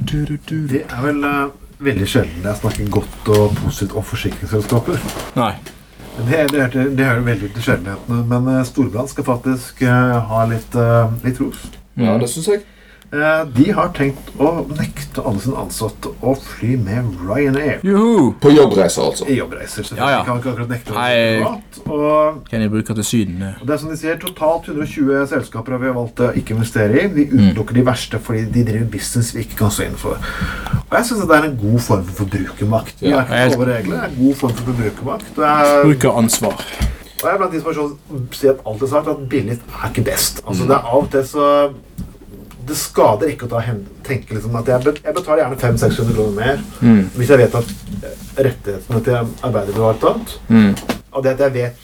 du, du, du. Det er vel eh, veldig sjelden jeg snakker godt og positivt om forsikringsselskaper. Nei. Det, det, er, til- det hører veldig til sjeldenhetene, men eh, Storbrann skal faktisk eh, ha litt, eh, litt ros. Ja, Mm. det syns jeg. Eh, de har tenkt å nekte alle sine ansatte å fly med Ryanair. Juhu! På jobbreise, altså. I jobbreiser, selvfølgelig. Ja, ja. Kan ikke akkurat nekte Nei. å fly privat. Kan jeg bruke til Syden? det? Og det er som de sier, totalt 120 selskaper har vi valgt å ikke investere i. Vi utelukker de verste fordi de driver business vi ikke kan stå inn for. Og jeg syns det er en god form for forbrukermakt. Vi Ja, har ikke jeg- noen regler, det er en god form for forbrukermakt. Og jeg, Brukeransvar. og jeg er blant de som har sånn- sier at alltid sagt at billig er ikke best. Altså Mm. det er av og til så det skader ikke å ta hen, tenke liksom at jeg, bet- jeg betaler gjerne 500-600 kroner mer Mm. hvis jeg vet at eh, rettighetene til arbeidet blir ivaretatt. Mm. Og det at jeg vet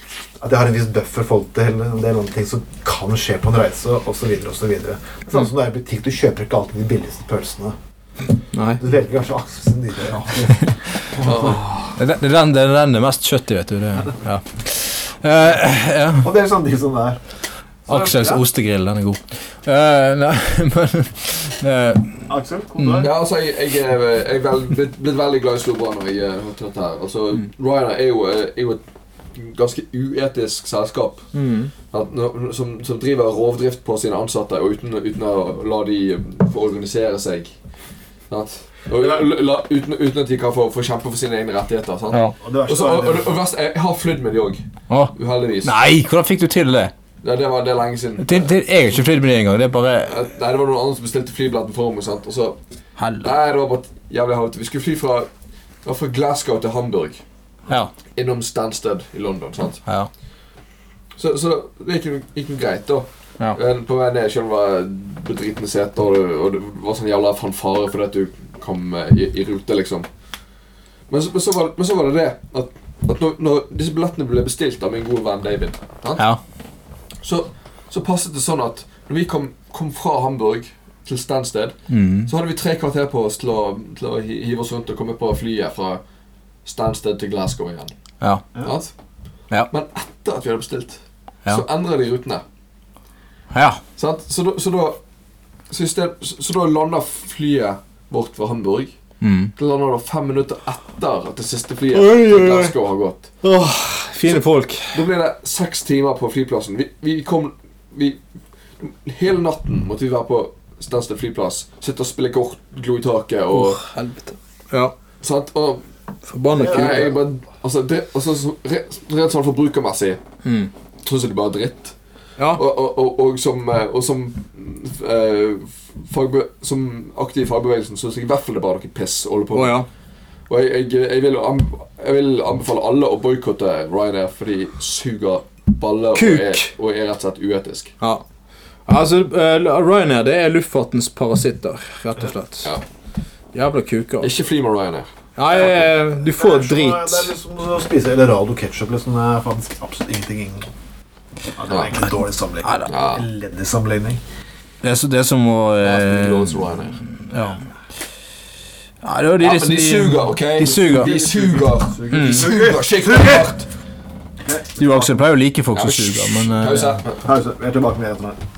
at jeg har en viss buffer forhold til en del andre ting som kan skje på en reise, osv. Det er Samme som det er i butikk. Du kjøper ikke alltid de billigste pølsene. Nei. Du velger kanskje Aksel sin dyrere. Det er den- det er den det er den det er mest kjøtt i, vet du. Det. Ja. Eh, ja. Og det er sånn de som er. Så- Aksels ja, ostegrill, den er god. Eh, nei, men eh, Aksel, kommentar? Ja, altså, jeg, jeg er, jeg er vel, blitt, blitt veldig glad i Storbrann når jeg eh, har tatt her. Altså, Mm. Ryanair er jo, eh, er jo et ganske uetisk selskap mm. at, nå- som, som driver rovdrift på sine ansatte og uten, uten å la de få organisere seg. Sant? Og, la, uten, uten at de kan få, få kjempe for sine egne rettigheter. Sant? ja. Og det Og, så, verste og, og, er og verst, jeg har flydd med de òg, Å, uheldigvis. Nei, hvordan fikk du til det? Det, det, var, det er lenge siden. Til, til, jeg har ikke flydd med det engang. Det er bare Nei, det var noen andre som bestilte flybilletten for meg. sant? Og så Helvete. Nei, det var bare et jævlig havete. Vi skulle fly fra, det var fra Glasgow til Hamburg. Ja. Innom Stansted i London. sant? ja. Så, så det gikk, jo- gikk jo greit, da. Ja. Men På vei ned selv var jeg bedritne seter, og, det- og det var sånn jævla fanfare fordi at du kom eh, i, i rute, liksom. Men så, men, så var, men så var det det at, at når, når disse billettene ble bestilt av min gode venn David, sant? ja. så, så passet det sånn at når vi kom, kom fra Hamburg til Stansted Mm. Så hadde vi tre kvarter på oss til å, til å hi- hive oss rundt og komme på flyet fra Stansted til Glasgow igjen. ja. Ja. sant? Ja. Men etter at vi hadde bestilt, Ja. så endra de rutene. Ja. Sant? Så, da- så da så, i sted, så, så da landa flyet vårt fra Hamburg. Mm. Det landa da fem minutter etter at det siste flyet Oi, oi, til oi. Glasgow har gått. Åh, fine folk. Da ble det seks timer på flyplassen. Vi, vi kom vi, Hele natten måtte vi være på Stansted flyplass. Sitte og spille kort, glo i taket og helvete. Ja. sant? Og Forbanna Nei, jeg bare, altså, det, altså, så- re- rent sånn forbrukermessig Mm. Tror jeg det bare er dritt. Ja. Og, og, og, og som, eh, og som, mm, f- eh, fagbe, som aktiv i fagbevegelsen syns jeg i hvert fall det er bare noe piss å holde på Å med. ja. Og jeg, jeg, jeg, vil, anb- jeg vil anbefale alle å boikotte Ryanair, for de suger baller og Kuk. er, og er rett og slett uetisk. ja. Altså, eh, Ryanair det er luftfartens parasitter, rett og slett. Ja. Jævla kuker. Ikke fly med Ryanair. Nei, eh, du får Det er som- drit. Det er liksom å spise Elerado ketsjup. Liksom. Det er faktisk absolutt ingenting ingen ja, Det var egentlig en dårlig Nei sammenligning. da. Ja. Elendig sammenligning. Det er, så, det er som å eh, Ryanair. Ja. ja det var de, Ja, liksom, men de suger, OK? De suger. Mm. De suger, Suger. de suger skikkelig hardt. Du Aksel pleier jo å like folk Ja, som men suger, hysj, men eh, Pause. Pause. Vi er tilbake med det.